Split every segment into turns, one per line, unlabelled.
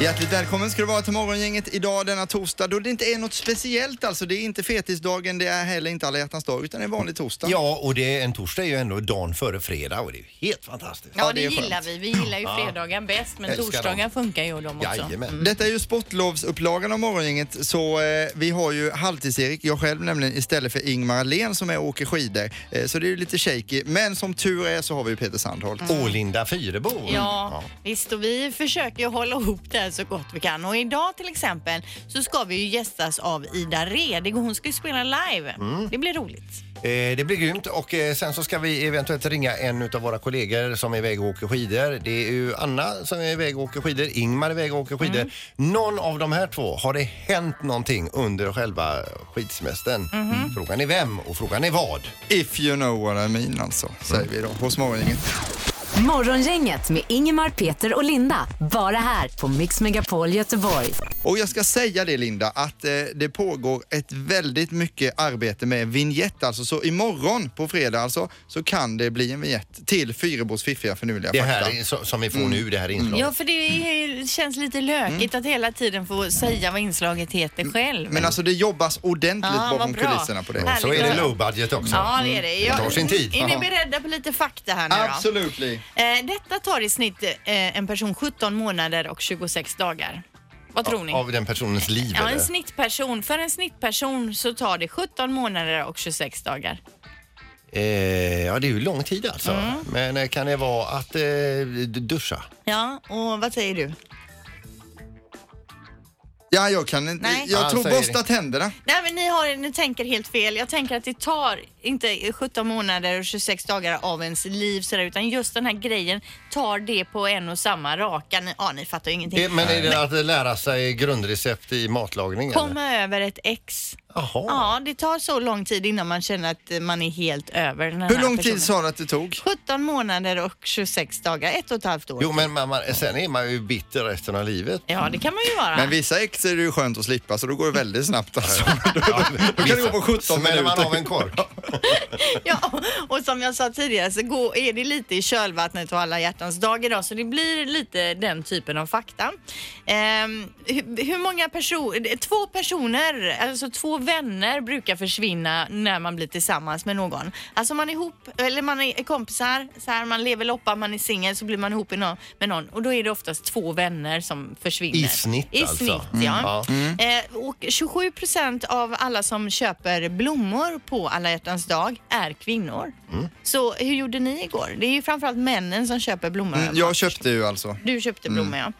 Hjärtligt välkommen ska du vara till Morgongänget idag denna torsdag då det inte är något speciellt alltså. Det är inte fetisdagen, det är heller inte alla hjärtans dag utan det är en vanlig torsdag.
Ja, och det, en torsdag är ju ändå dagen före fredag och det är ju helt fantastiskt.
Ja,
Ja,
det
det
är skönt.
gillar vi. Vi gillar ju fredagen bäst, men
Älskar
torsdagen
dem.
funkar ju de också. Mm.
Jajamän.
Mm. Detta är ju sportlovsupplagan av Morgongänget så eh, vi har ju halvtids-Erik, jag själv nämligen, istället för Ingmar Ahlén som är och åker skidor. Eh, så det är ju lite shaky. Men som tur är så har vi ju Peter Sandholt.
Och Linda Fyrebo.
Ja, visst och vi försöker ju hålla ihop det här så gott vi kan och idag till exempel så ska vi ju gästas av Ida Redig och hon ska ju spela live. Det blir roligt.
Eh, det blir grymt och eh, sen så ska vi eventuellt ringa en av våra kollegor som är iväg och åker skidor. Det är ju Anna som är iväg och åker skidor, Ingmar är iväg och åker
Mm.
skidor. Någon av de här två, har det hänt någonting under själva skidsemestern?
Mhm. Mm.
Frågan är vem och frågan är vad.
If you know what I mean alltså, säger vi då hos Morgongänget.
Morgongänget med Ingemar, Peter och Linda. Bara här på Mix Megapol Göteborg.
Och jag ska säga det Linda, att eh, det pågår ett väldigt mycket arbete med vignett alltså. Så imorgon på fredag alltså, så kan det bli en vignett till Fyrebos fiffiga förnuliga
Det
fakta.
här är, så- som vi får nu, det här inslaget.
Ja, för det är- känns lite lökigt att hela tiden få säga vad inslaget heter själv.
Men alltså det jobbas ordentligt
Ja, Ah, vad
bakom
bra.
kulisserna på det.
Härligt.
Så är det low budget också.
Ja, det är det.
Det tar sin tid.
Är ni
Jaha.
beredda på lite fakta här nu då?
Absolutely.
Eh, Detta tar i snitt eh, en person 17 månader och 26 dagar. Vad tror ni?
Av den personens liv
Ja,
eller?
en snittperson. För en snittperson så tar det 17 månader och 26 dagar.
Eh, ja, det är ju lång tid alltså.
Mm.
Men eh, kan det vara att eh, d- duscha?
Ja, och vad säger du?
Ja, jag kan inte.
Nej.
Jag
Ah,
tror
så är det.
borsta tänderna.
Nej, men ni, har, ni tänker helt fel. Jag tänker att det tar inte 17 månader och 26 dagar av ens liv sådär, utan just den här grejen tar det på en och samma raka. Ni, ja, ni fattar ju ingenting.
Eh, Men är det att lära sig grundrecept i matlagning? eller?
Komma över ett ex.
Jaha.
Ja, det tar så lång tid innan man känner att eh, man är helt över den här
Hur lång
personen.
tid sa du att det tog?
17 månader och 26 dagar, ett och ett halvt år.
Jo, men man, man, sen är man ju bitter resten av livet.
Ja, det kan man ju vara.
Men vissa ex är det ju skönt att slippa så då går det väldigt snabbt alltså. Då, då, då kan det gå på 17
Smäller man av en
minuter.
kork?
Ja, och som jag sa tidigare så går, är det lite i kölvattnet och alla hjärtans dag idag så det blir lite den typen av fakta. Ehm, hur, hur många personer, två personer, alltså två vänner brukar försvinna när man blir tillsammans med någon. Alltså man är ihop, eller man är kompisar, så här, man lever loppan, man är singel så blir man ihop i nå- med någon och då är det oftast två vänner som försvinner.
I snitt
I
alltså.
snitt,
Mm.
ja.
Ja.
Eh, och 27 procent av alla som köper blommor på alla hjärtans dag är kvinnor. Så hur gjorde ni igår? Det är ju framförallt männen som köper blommor.
Mm, Jag köpte ju alltså.
Du köpte blommor ja.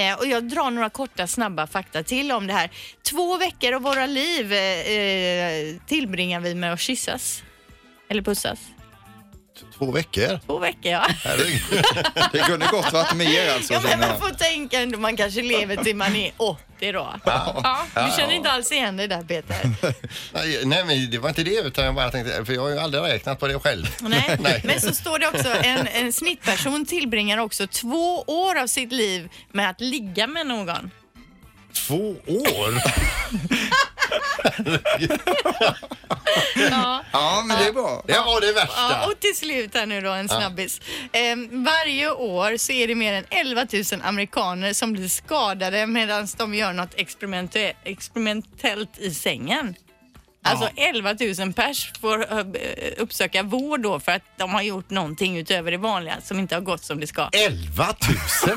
Eh, och jag drar några korta snabba fakta till om det här. Två veckor av våra liv eh, eh, tillbringar vi med att kyssas. Eller pussas.
Två veckor?
Två veckor ja.
Herregud.
Det kunde gott varit mer alltså.
Ja, men
känner
man
jag.
får tänka ändå, man kanske lever till man är 80 då. Ja, du känner inte alls igen dig där Peter.
Nej, nej, men det var inte det utan jag bara tänkte, för jag har ju aldrig räknat på det själv.
Nej.
Nej.
Men så står det också, en, en snittperson tillbringar också två år av sitt liv med att ligga med någon.
Två år?
Ja.
Ja, men det är bra.
Det var det
Ja,
värsta.
och till slut här nu då en snabbis. Ehm, varje år så är det mer än 11 000 amerikaner som blir skadade medan de gör något experimente- experimentellt i sängen. Alltså 11 000 pers får eh, uppsöka vård då för att de har gjort någonting utöver det vanliga som inte har gått som det ska.
11 000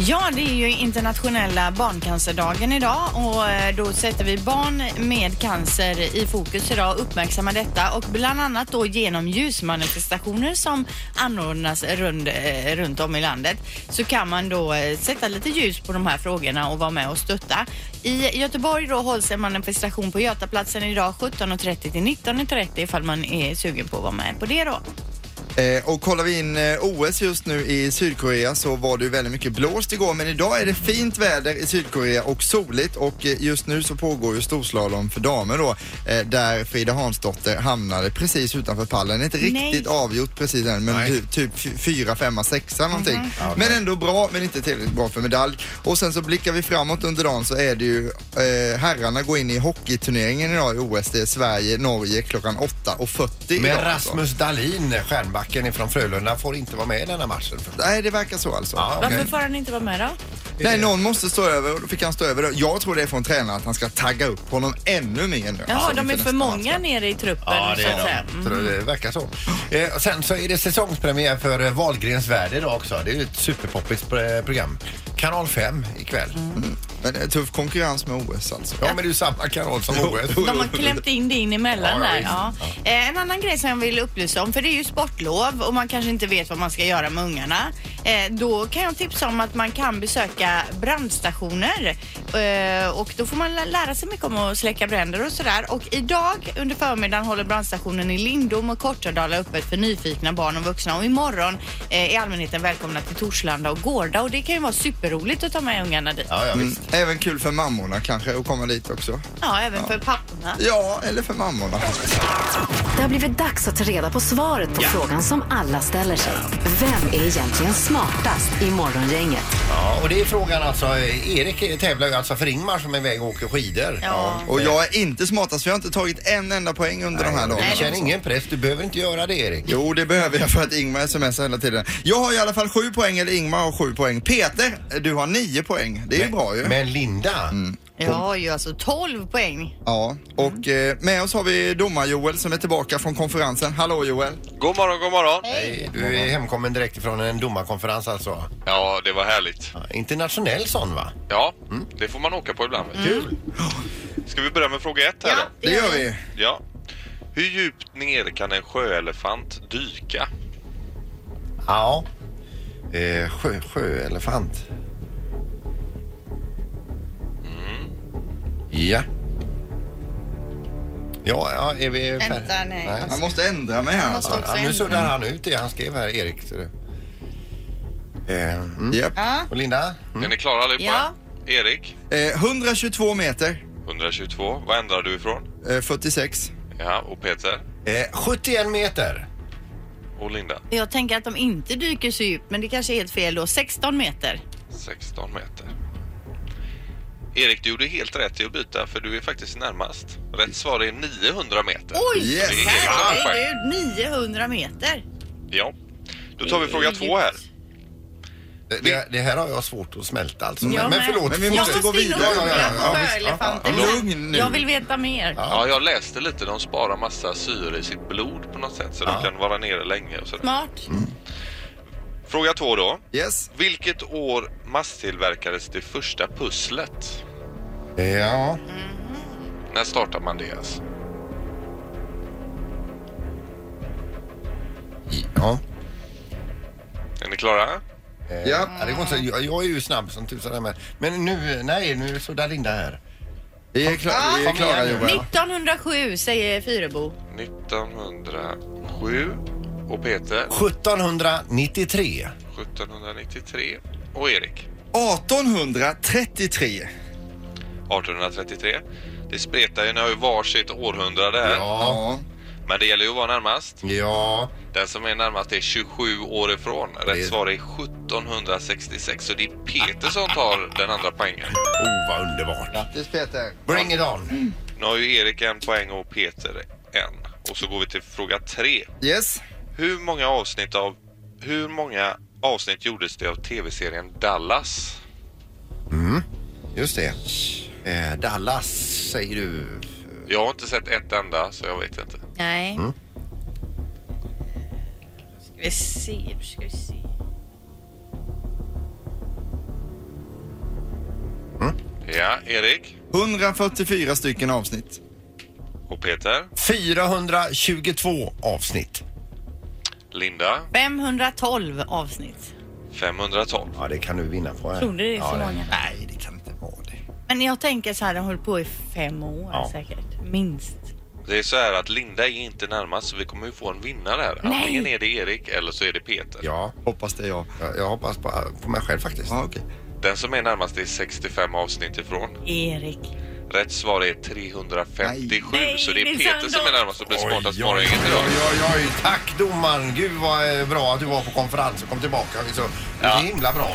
Ja, det är ju internationella barncancerdagen idag och eh, då sätter vi barn med cancer i fokus idag och uppmärksammar detta och bland annat då genom ljusmanifestationer som anordnas rund, eh, runt om i landet så kan man då eh, sätta lite ljus på de här frågorna och vara med och stötta. I Göteborg då hålls en manifestation på Götaplatsen idag 17.30 till 19.30 ifall man är sugen på att vara med på det då.
Eh, och kollar vi in eh, OS just nu i Sydkorea så var det ju väldigt mycket blåst igår men idag är det fint väder i Sydkorea och soligt och eh, just nu så pågår ju storslalom för damer då eh, där Frida Hansdotter hamnade precis utanför pallen. Inte
Nej.
riktigt avgjort precis än men
Nej.
ty- typ f- fyra, femma, sexa någonting. Men ändå bra men inte tillräckligt bra för medalj. Och sen så blickar vi framåt under dagen så är det ju eh, herrarna går in i hockeyturneringen idag i OS. Det är Sverige, Norge klockan 8.40
Men
idag alltså.
Rasmus Dahlin, stjärnbacken från Frölunda, får inte vara med i den här matchen.
Nej, det verkar så alltså.
Ja,
Varför får han inte vara med då?
Nej, någon måste stå över och då fick han stå över. Jag tror det är från tränaren att han ska tagga upp honom ännu mer nu.
Jaha,
Alltså,
de är
inför nästa
för många
landskamp.
nere i truppen.
Ja, det
så
är
att säga.
de. Så det verkar så. Eh, och sen så är det säsongspremiär för eh, Wahlgrens värld idag också. Det är ju ett superpoppigt eh, program. Kanal 5 ikväll.
Men det är tuff konkurrens med OS alltså.
Ja, men det är ju samma kanal som OS.
De har klämt in det in emellan
Ja, ja,
där.
visst.
Ja. Eh, En annan grej som jag vill upplysa om, för det är ju sportlov och man kanske inte vet vad man ska göra med ungarna. Eh, Då kan jag tipsa om att man kan besöka brandstationer Eh, och då får man lä- lära sig mycket om att släcka bränder och sådär. Och idag under förmiddagen håller brandstationen i Lindom och Kortedala öppet för nyfikna barn och vuxna och imorgon eh, är allmänheten välkomna till Torslanda och Gårda och det kan ju vara superroligt att ta med ungarna dit.
Ja, ja,
Mm,
visst.
även kul för mammorna kanske att komma dit också.
Ja, även för papporna.
Ja, eller för mammorna.
Det har blivit dags att ta reda på svaret på frågan som alla ställer sig. Vem är egentligen smartast i Morgongänget?
Ja, och det är frågan alltså. eh, Erik tävlar ju alltså för Ingmar som är iväg och åker skidor.
Ja.
Och jag är inte smartast för jag har inte tagit en enda poäng under de här dagarna.
Du känner ingen press. Du behöver inte göra det, Erik.
Jo, det behöver jag för att Ingmar smsar hela tiden. Jag har i alla fall sju poäng, eller Ingmar har sju poäng. Peter, du har nio poäng. Det är ju bra ju.
Men Linda,
Jag har ju alltså 12 poäng.
Ja, och eh, med oss har vi domar-Joel som är tillbaka från konferensen. Hallå Joel!
God morgon, god morgon.
eh, du är hemkommen direkt från en domarkonferens alltså.
Ja, det var härligt.
Ja, Internationell sån va?
Ja,
Mm.
det får man åka på ibland. Kul. Ska vi börja med fråga ett här då?
Det gör vi.
Ja. Hur djupt ner kan en sjöelefant dyka?
Ja. Eh, sjö, sjöelefant. Ja. Ja, ja, är vi... fär-
Vänta, nej.
Jag måste ändra mig här alltså.
Måste-
Ja, nu suddar han ut det han skrev här, Erik. ser du. Eh, mm.
Japp.
Och Linda? Mm.
Är ni klara allihopa?
Mm. Ja.
Erik,
Eh, 122 meter,
122. Vad ändrar du ifrån?
eh, 46.
Ja, och Peter
Eh, 71 meter.
och Linda.
Jag tänker att de inte dyker så djupt, men det kanske är helt fel då. 16 meter.
16 meter. Erik, du gjorde helt rätt i att byta för du är faktiskt närmast. Rätt svar är 900 meter.
Oj!
Yes.
Det är Erik som har poäng.
Herregud, 900 meter.
Ja. Då tar vi fråga två här.
Det, det, det här har jag svårt att smälta alltså.
Jag
men, men
med.
förlåt.
Men vi
Jag
måste
måste
gå vidare.
Ja, ja,
Ja, visst.
Ja, ja. Lugn nu.
Jag vill veta mer.
Ja, jag läste lite. De sparar massa syre i sitt blod på något sätt så de kan vara nere länge och sådär.
Smart.
Fråga två då.
Yes.
Vilket år masstillverkades det första pusslet?
Ja.
När startar man det alltså?
ja.
Är ni klara?
Eh,
Ja.
ja, det går inte, så- jag, jag är ju snabb som tusan där med. Men nu, nej, nu suddar Linda här.
Vi är, kla- vi är klara Joel.
1907 säger Fyrebo.
1907 och Peter
1793.
1793 och Erik
1833.
1833. Det spretar ju, ni har ju varsitt århundrade här.
Ja.
Men det gäller ju att vara närmast.
Ja.
Den som är närmast är 27 år ifrån.
Det-
Rätt svar är 1766 så det är Peter som tar den andra poängen.
Oh, vad underbart.
Grattis Peter. Mm.
Bring it on.
Nu har ju Erik en poäng och Peter en. Och så går vi till fråga tre.
Yes.
Hur många avsnitt av hur många avsnitt gjordes det av tv-serien Dallas?
Just det. Eh, Dallas säger du.
Jag har inte sett ett enda så jag vet inte.
Nej. Mm. Ska vi se, nu ska vi se.
Ja, Erik
144 stycken avsnitt.
och Peter,
422 avsnitt.
Linda
512 avsnitt.
512.
Ja, det kan du vinna på. Här.
Tror du det är så många?
Nej, det kan inte vara det.
Men jag tänker så här, den höll på i fem år
Ja.
säkert. Minst.
Det är så här att Linda är inte närmast så vi kommer ju få en vinnare här.
Nej.
Antingen är det Erik eller så är det Peter.
Ja,
Hoppas det är jag.
jag, jag hoppas på, på mig själv faktiskt.
Ja, okej.
Den som är närmast är 65 avsnitt ifrån.
Erik.
Rätt svar är 357
Nej,
så det är
det är
Peter som är
ändå-
närmast och blir smartast
oj,
morgon
oj,
idag.
oj, oj, Tack domaren! Gud vad eh, bra att du var på konferens och kom tillbaka. Så, Det är himla bra.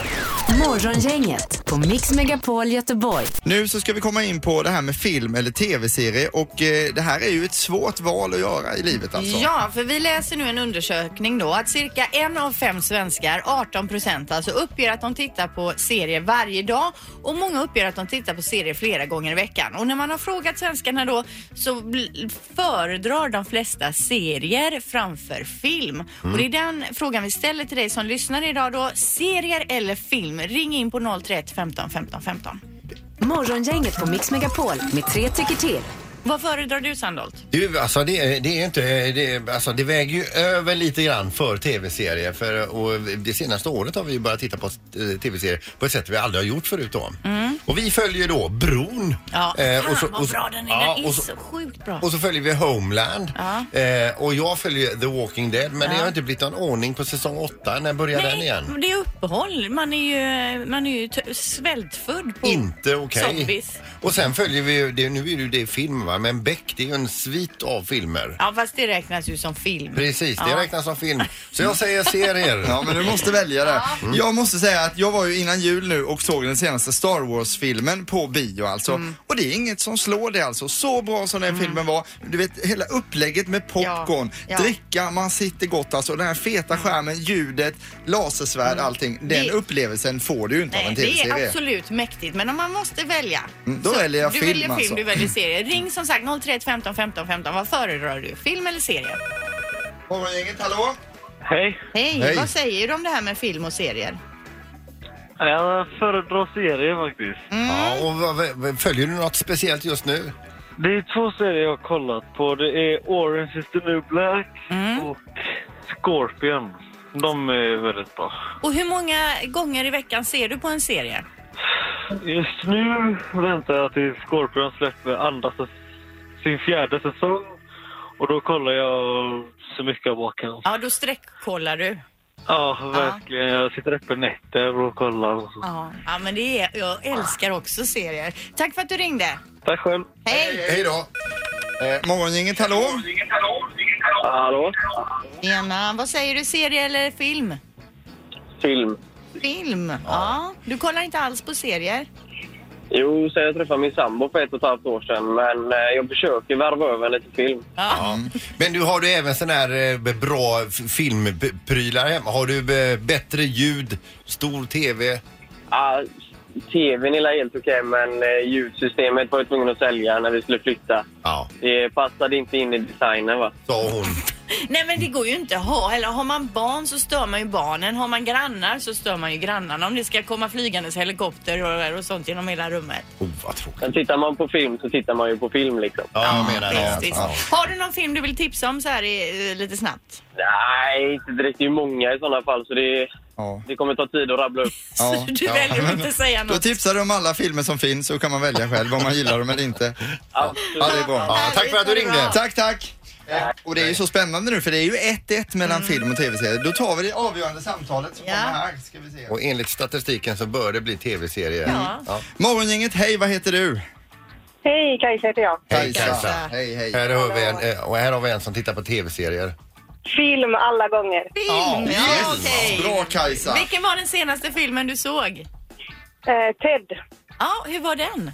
Morgongänget på Mix Megapol Göteborg.
Nu så ska vi komma in på det här med film eller tv-serie och eh, det här är ju ett svårt val att göra i livet alltså.
Ja, för vi läser nu en undersökning då att cirka en av fem svenskar, 18 procent alltså, uppger att de tittar på serier varje dag och många uppger att de tittar på serier flera gånger i veckan. Och när man har frågat svenskarna då så bl- föredrar de flesta serier framför film.
Mm.
Och det är den frågan vi ställer till dig som lyssnar idag då. Serier eller film? Ring in på 031 15 15 15.
Morgongänget på Mix Megapol med tre tycker till.
Vad föredrar du Sandholt?
Du, alltså det, är- det är inte... Det, är- alltså det väger ju över lite grann för tv-serier. För, och det senaste året har vi ju börjat titta på eh, tv-serier på ett sätt vi aldrig har gjort förut då. Och vi följer ju då Bron.
Mm. Ja,
Eh,
fan vad bra den är.
ja,
den är
och så-
så sjukt bra.
Och så följer vi Homeland. Eh, och jag följer The Walking Dead. Men det har inte blivit någon ordning på säsong 8. När börjar den igen?
men det är uppehåll. Man är ju, man är ju t- svältfödd på
Inte okej.
Mm. zombies.
Och sen följer vi ju, det, nu är det ju det film va, men Beck det är ju en svit av filmer.
Ja, fast det räknas ju som film.
Precis, det
Ja.
räknas som film. Så jag säger serier.
Ja, men du måste välja det.
Mm.
Jag måste säga att jag var ju innan jul nu och såg den senaste Star Wars-filmen på bio alltså.
Mm.
Och det är inget som slår det alltså. Så bra som den filmen var. Du vet, hela upplägget med popcorn,
Ja, ja.
dricka, man sitter gott alltså. Den här feta skärmen, ljudet, lasersvärd, allting. Den
Mm. Det-
upplevelsen får du ju inte av
Nej,
en
det är
tv-serie.
absolut mäktigt, men om man måste välja.
Mm, då
så
väljer jag
du
film,
väljer film,
alltså.
du väljer serie. Ring som sagt 031 15 15 15. Vad föredrar du? Film eller serie?
Morgongänget, hallå?
Hej.
Hej,
Hej.
vad säger du om det här med film och serier?
Jag föredrar serier faktiskt.
Ja, och vad- vad- följer du något speciellt just nu?
Det är två serier jag har kollat på. Det är Orange is the new black och Scorpion. De är väldigt bra.
Och hur många gånger i veckan ser du på en serie?
Just nu väntar jag tills Scorpion släpper andra säs- sin fjärde säsong. Och då kollar jag så mycket jag bara kan.
Ja, då sträckkollar du.
Ja, verkligen. Jag sitter uppe nätter och kollar. och så.
Ja, ja men det är, jag älskar också serier. Tack för att du ringde.
Tack själv.
Hej!
Hej då!
Eh, morgongänget, hallå?
Hallå?
Lena, vad säger du? Serie eller film?
Film.
Film? Ja. Du kollar inte alls på serier?
Jo, så jag träffade min sambo för ett och ett halvt år sedan. Men eh, jag försöker värva över henne till film.
Ja. Men du, har du även sån här eh, bra f- filmprylar hemma? Har du eh, bättre ljud, stor TV?
Ja, TVn är helt okej, men eh, ljudsystemet var jag tvungen att sälja när vi skulle flytta.
Ja,
Det passade inte in i designen, va?
sa hon.
Nej men det går ju inte att ha. Eller har man barn så stör man ju barnen. Har man grannar så stör man ju grannarna om det ska komma flygandes helikopter och, och sånt genom hela rummet.
Oh, vad tråkigt.
Men tittar man på film så tittar man ju på film, liksom.
Ja, jag menar det.
Visst,
alltså.
visst.
Ja.
Har du någon film du vill tipsa om så här i, eh, lite snabbt?
Nej, inte direkt. Det är ju många i sådana fall, så det,
Ja.
det kommer ta tid att rabbla upp.
Ja,
så du
ja.
väljer att inte säga
Då
något.
tipsar du om alla filmer som finns så kan man välja själv om man gillar dem eller inte. Ja, det är bra.
Ja, tack för att du ringde.
Tack, tack! Och det är ju så spännande nu för det är ju 1-1 mellan film och tv-serie. Då tar vi det avgörande samtalet som
Mm. Ja.
kommer här. Ska vi se.
Och enligt statistiken så bör det bli tv-serier.
Ja.
Morgongänget, hej vad heter du?
Hej, Kajsa heter jag.
Hej
Kajsa.
Kajsa!
Hej hej.
Här har, vi en, eh, och här har vi en som tittar på tv-serier.
Film alla gånger.
Film! Ja,
Yes!
okej.
Bra Kajsa!
Vilken var den senaste filmen du såg?
Eh, Ted,
Ja, hur var den?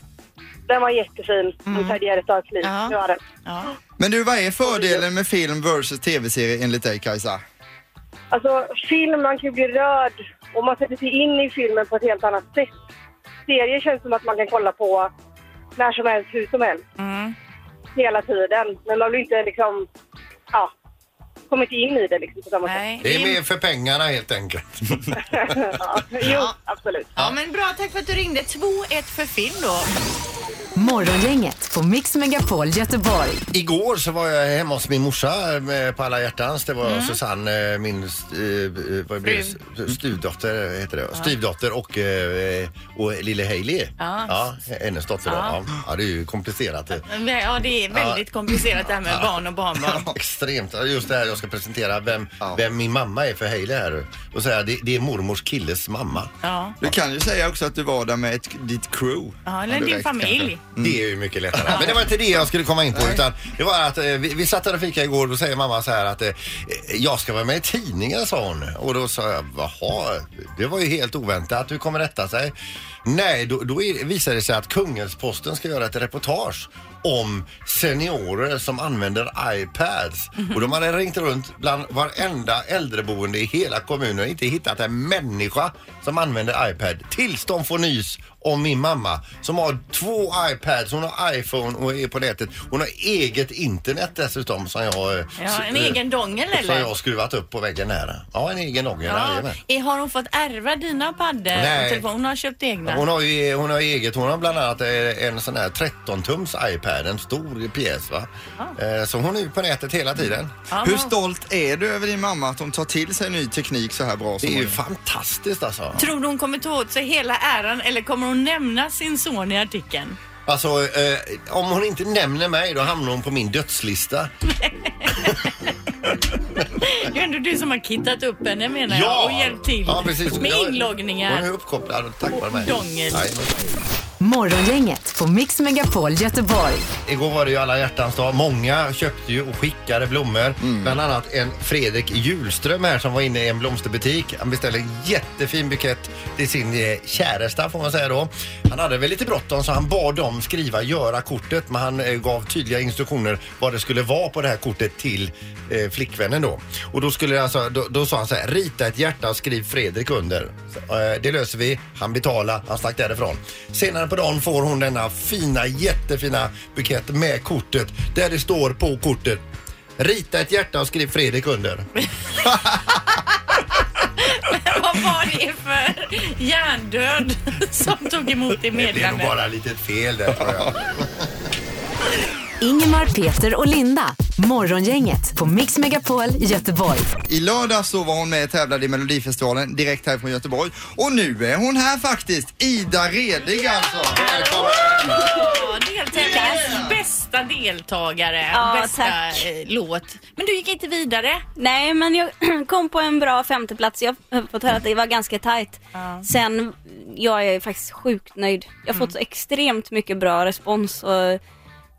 den var jättefin. Om Ted Gärdestads liv.
Mm. Ja.
Det var den.
Ja.
Men du, vad är fördelen med film versus tv-serie enligt dig Kajsa?
Alltså, film, man kan ju bli rörd och man sätter sig in i filmen på ett helt annat sätt. Serier känns som att man kan kolla på när som helst,
Mm.
hur som helst. Hela tiden. Men man blir inte liksom... Ja. kommit in i det liksom på samma sätt.
Nej.
Det är mer för pengarna helt enkelt.
ja, jo, absolut.
Ja, men bra. Tack för att du ringde. 2-1 för film då.
Morgongänget på Mix Megapol Göteborg.
Igår så var jag hemma hos min morsa eh, på alla hjärtans. Det var Susanne, eh, min st- eh, vad blir det? S- stuvdotter, heter det, va? styvdotter och, eh, och lille Hailey.
Ja.
hennes dotter. då. Ja. ja, det är ju komplicerat. eh.
Men, Ja, det är väldigt komplicerat det här med barn och barnbarn.
Extremt. Just det här jag ska presentera vem,
Ja.
vem min mamma är för Hailey här. Och säga det, det är mormors killes mamma.
Ja.
Du kan ju säga också att du var där med ett, ditt crew.
Ja, eller din
Direkt,
familj.
kanske.
Det är ju mycket lättare. Men det var inte det jag skulle komma in på utan det var att eh, vi, vi satt där och fikade igår och då säger mamma så här att eh, jag ska vara med i tidningen sa hon. Och då sa jag jaha, det var ju helt oväntat. Hur kommer detta sig? Nej, då, då är- visar det sig att Kungälvsposten ska göra ett reportage om seniorer som använder iPads. Och de hade ringt runt bland varenda äldreboende i hela kommunen och inte hittat en människa som använder iPad tills de får nys om min mamma som har två iPads, hon har iPhone och är på nätet. Hon har eget internet dessutom som jag... eh, s-
Ja, en
eh,
egen dongel
Som jag
eller?
har skruvat upp på väggen här. Ja, en egen dongel.
Ja.
jajamän.
Eh, Har hon fått ärva dina paddor?
Nej.
och telefon? Hon har köpt egna.
Hon har ju hon har ju eget, hon har bland annat eh, en sån här 13-tums iPad, en stor pjäs va. Eh, Så hon är ju på nätet hela tiden.
Ja,
Hur
men-
stolt är du över din mamma att hon tar till sig ny teknik så här bra
Det
som
är
hon
ju
gör?
fantastiskt alltså.
Tror du hon kommer ta åt sig hela äran eller kommer hon nämna sin son i artikeln?
Alltså eh, om hon inte nämner mig då hamnar hon på min dödslista.
Det är ändå du som har kittat upp henne menar jag och hjälpt till
Ja, precis.
med
Jag- Hon är
inloggningar.
uppkopplad och tack vare mig.
dongel.
Nej.
Morgongänget på Mix Megapol Göteborg.
Igår var det ju alla hjärtans dag. Många köpte ju och skickade blommor.
Mm.
Bland annat en Fredrik Julström här som var inne i en blomsterbutik. Han beställde en jättefin bukett till sin eh, käresta får man säga då. Han hade väl lite bråttom så han bad dem skriva, göra kortet men han eh, gav tydliga instruktioner vad det skulle vara på det här kortet till eh, flickvännen då. Och då, skulle det alltså, då, då sa han så här, rita ett hjärta och skriv Fredrik under. Så, eh, det löser vi, han betalar, han stack därifrån. Senare på dagen får hon denna fina, jättefina bukett med kortet där det står på kortet Rita ett hjärta och skriv Fredrik under.
Vad var det för hjärndöd som tog emot
Det
det
är nog
meddelandet?
bara lite fel där tror jag.
Ingemar, Peter och Linda. Morgongänget på Mix Megapol Göteborg.
I lördag så var hon med och tävlade i Melodifestivalen direkt här från Göteborg. Och nu är hon här faktiskt. Ida Redig alltså. Välkommen!
Ja, deltävlingens bästa deltagare,
Ja,
bästa
tack.
eh, låt. Men du gick inte vidare.
Nej, men jag kom på en bra femteplats. Jag har fått höra att det var ganska tajt. Sen, jag är faktiskt sjukt nöjd. Jag har fått så extremt mycket bra respons och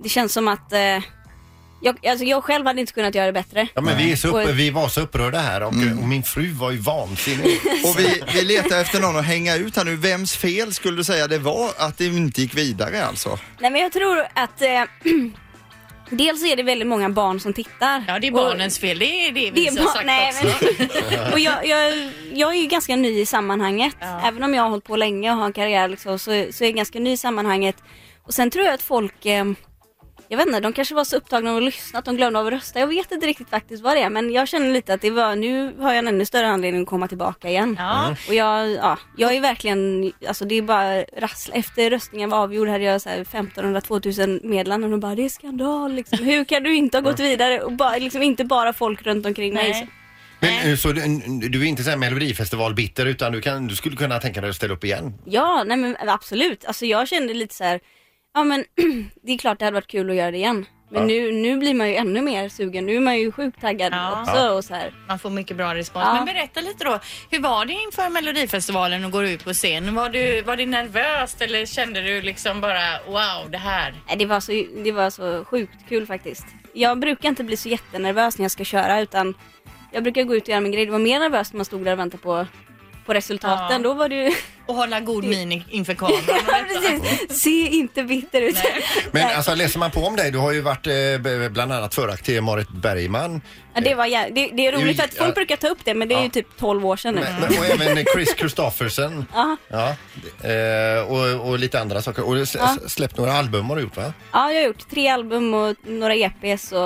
det känns som att eh, jag, alltså jag själv hade inte kunnat göra det bättre.
Ja, men vi, är så upp, vi var så upprörda här och, och min fru var ju vansinnig.
Och vi, vi letar efter någon att hänga ut här nu. Vems fel skulle du säga det var att det inte gick vidare alltså?
Nej, men jag tror att eh, dels är det väldigt många barn som tittar.
Ja, det är
Och-
barnens fel. Det är det vi
Det är
har
ba-
sagt
nej,
också.
men- och jag, jag, jag är ju ganska ny i sammanhanget. Även om jag har hållit på länge och har en karriär liksom, så, så är jag ganska ny i sammanhanget. Och sen tror jag att folk, eh, jag vet inte, de kanske var så upptagna av att lyssna att de glömde av att rösta. Jag vet inte riktigt faktiskt vad det är men jag känner lite att det var, nu har jag en ännu större anledning att komma tillbaka igen.
Ja.
Och jag, ja, jag är verkligen, alltså det är bara rassla. Efter röstningen var avgjord hade jag så här 1500-2000 meddelanden och bara det är skandal liksom. Hur kan du inte ha gått vidare? Och bara, liksom, inte bara folk runt omkring mig.
Nej.
Men, eh, så du, du är inte så här melodifestivalbitter utan du, kan, du skulle kunna tänka dig att ställa upp igen?
Ja, nej men absolut. Alltså jag kände lite så här, ja men det är klart det hade varit kul att göra det igen. Men
Ja.
nu, nu blir man ju ännu mer sugen. Nu är man ju sjukt taggad
Ja.
också och så här.
Man får mycket bra respons.
Ja.
Men berätta lite då, hur var det inför Melodifestivalen och gå ut på scen? Var du, var du nervöst eller kände du liksom bara wow, det här?
Nej, Det var, så, det var så sjukt kul faktiskt. Jag brukar inte bli så jättenervös när jag ska köra utan jag brukar gå ut och göra min grej. Det var mer nervöst när man stod där och väntade på, på resultaten.
Ja.
Då var det ju...
Och hålla god min inför kameran.
Ja, precis. Se inte bitter ut.
Men
Nej.
alltså läser man på om dig, du har ju varit eh, b- bland annat föraktig Marit Bergman.
Ja, det, var, jä- det, det är roligt
ju-
att folk
ja.
brukar ta upp det men det är ju
Ja.
typ 12 år sedan nu.
Men, men, och även Chris Kristoffersen.
Ja.
Ja, eh, och, och lite andra saker. Och du s-
Ja.
s- släppt några album har du gjort va?
Ja, jag har gjort tre album och några EPs och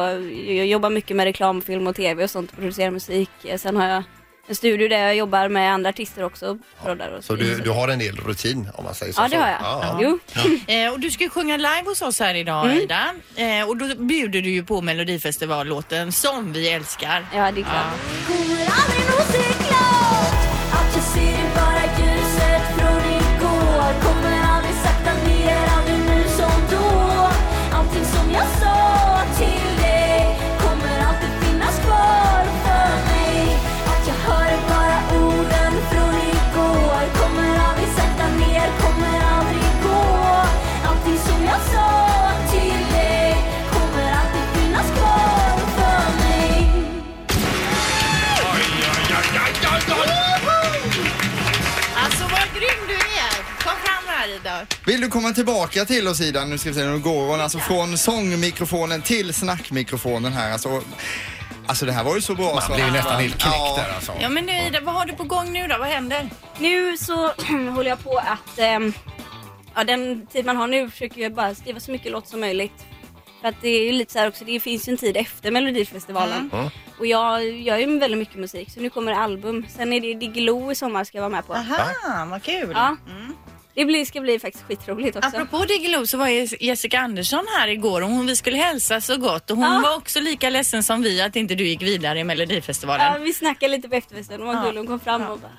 jag jobbar mycket med reklam, film och tv och sånt och producerar musik. Eh, Sen har jag en studio där jag jobbar med andra artister också och proddar och
Så du, du har en del rutin om man säger så.
Mm. Ja, det har jag.
Ja.
Jo.
Eh, och du ska ju sjunga live hos oss här idag Ida. Eh, och då bjuder du ju på Melodifestivallåten som vi älskar.
Ja, det är klart.
Kommer aldrig någonsin klart Att jag ser bara ljuset från igår Kommer aldrig sakta ner, aldrig nu som då Allting som jag sa till dig Kommer alltid finnas kvar för mig Att jag hör bara orden från igår Kommer aldrig sakta ner, kommer aldrig gå Allting som jag sa till dig Kommer alltid finnas kvar för mig
Alltså vad grym du är! Kom fram här Ida.
Vill du komma tillbaka till oss Ida, nu ska vi se hur det går, alltså från sångmikrofonen till snackmikrofonen här. Alltså, alltså det här var ju så bra.
Man blir ju nästan helt knäckt där alltså.
Ja men nu Ida, vad har du på gång nu då? Vad händer?
Nu så håller jag på att, ehm, ja den tid man har nu försöker jag bara skriva så mycket låt som möjligt. För att det är ju lite så här också, det finns ju en tid efter Melodifestivalen. Och jag gör ju väldigt mycket musik så nu kommer det album. Sen är det Diggiloo i sommar ska jag vara med på.
Aha, vad kul.
Ja. Det blir, ska bli faktiskt skitroligt också.
Apropå Diggiloo så var Jes- Jessica Andersson här igår och hon, vi skulle hälsa så gott och hon
Ja.
var också lika ledsen som vi att inte du gick vidare i Melodifestivalen.
Ja, vi snackade lite på efterfesten. Hon var gullig. Hon kom fram och bara...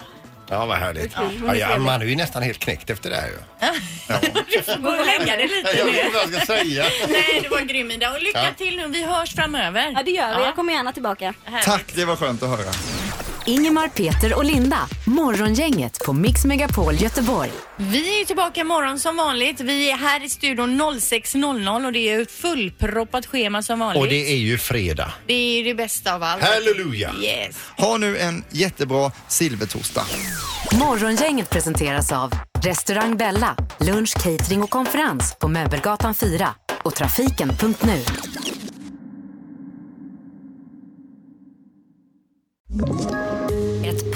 Ja, vad härligt.
Ja.
Ja, ja, man är ju nästan helt knäckt efter det här ju.
Du får gå och lägga dig lite
Jag
nu.
vet inte vad jag ska säga.
Nej, det var grym Ida och lycka
Ja.
till nu. Vi hörs framöver.
Ja, det gör vi. Jag kommer gärna tillbaka.
alltså.
Härligt.
Tack, det var skönt att höra.
Ingemar, Peter och Linda. Morgongänget på Mix Megapol Göteborg.
Vi är tillbaka imorgon som vanligt. Vi är här i studion 06.00 och det är ett fullproppat schema som vanligt.
Och
det...
det är ju fredag.
är ju det bästa av allt.
Halleluja!
Yes.
Ha nu en jättebra silvertorsdag.
Morgongänget presenteras av Restaurang Bella, lunch, catering och konferens på Möbelgatan 4 och trafiken.nu.
Ett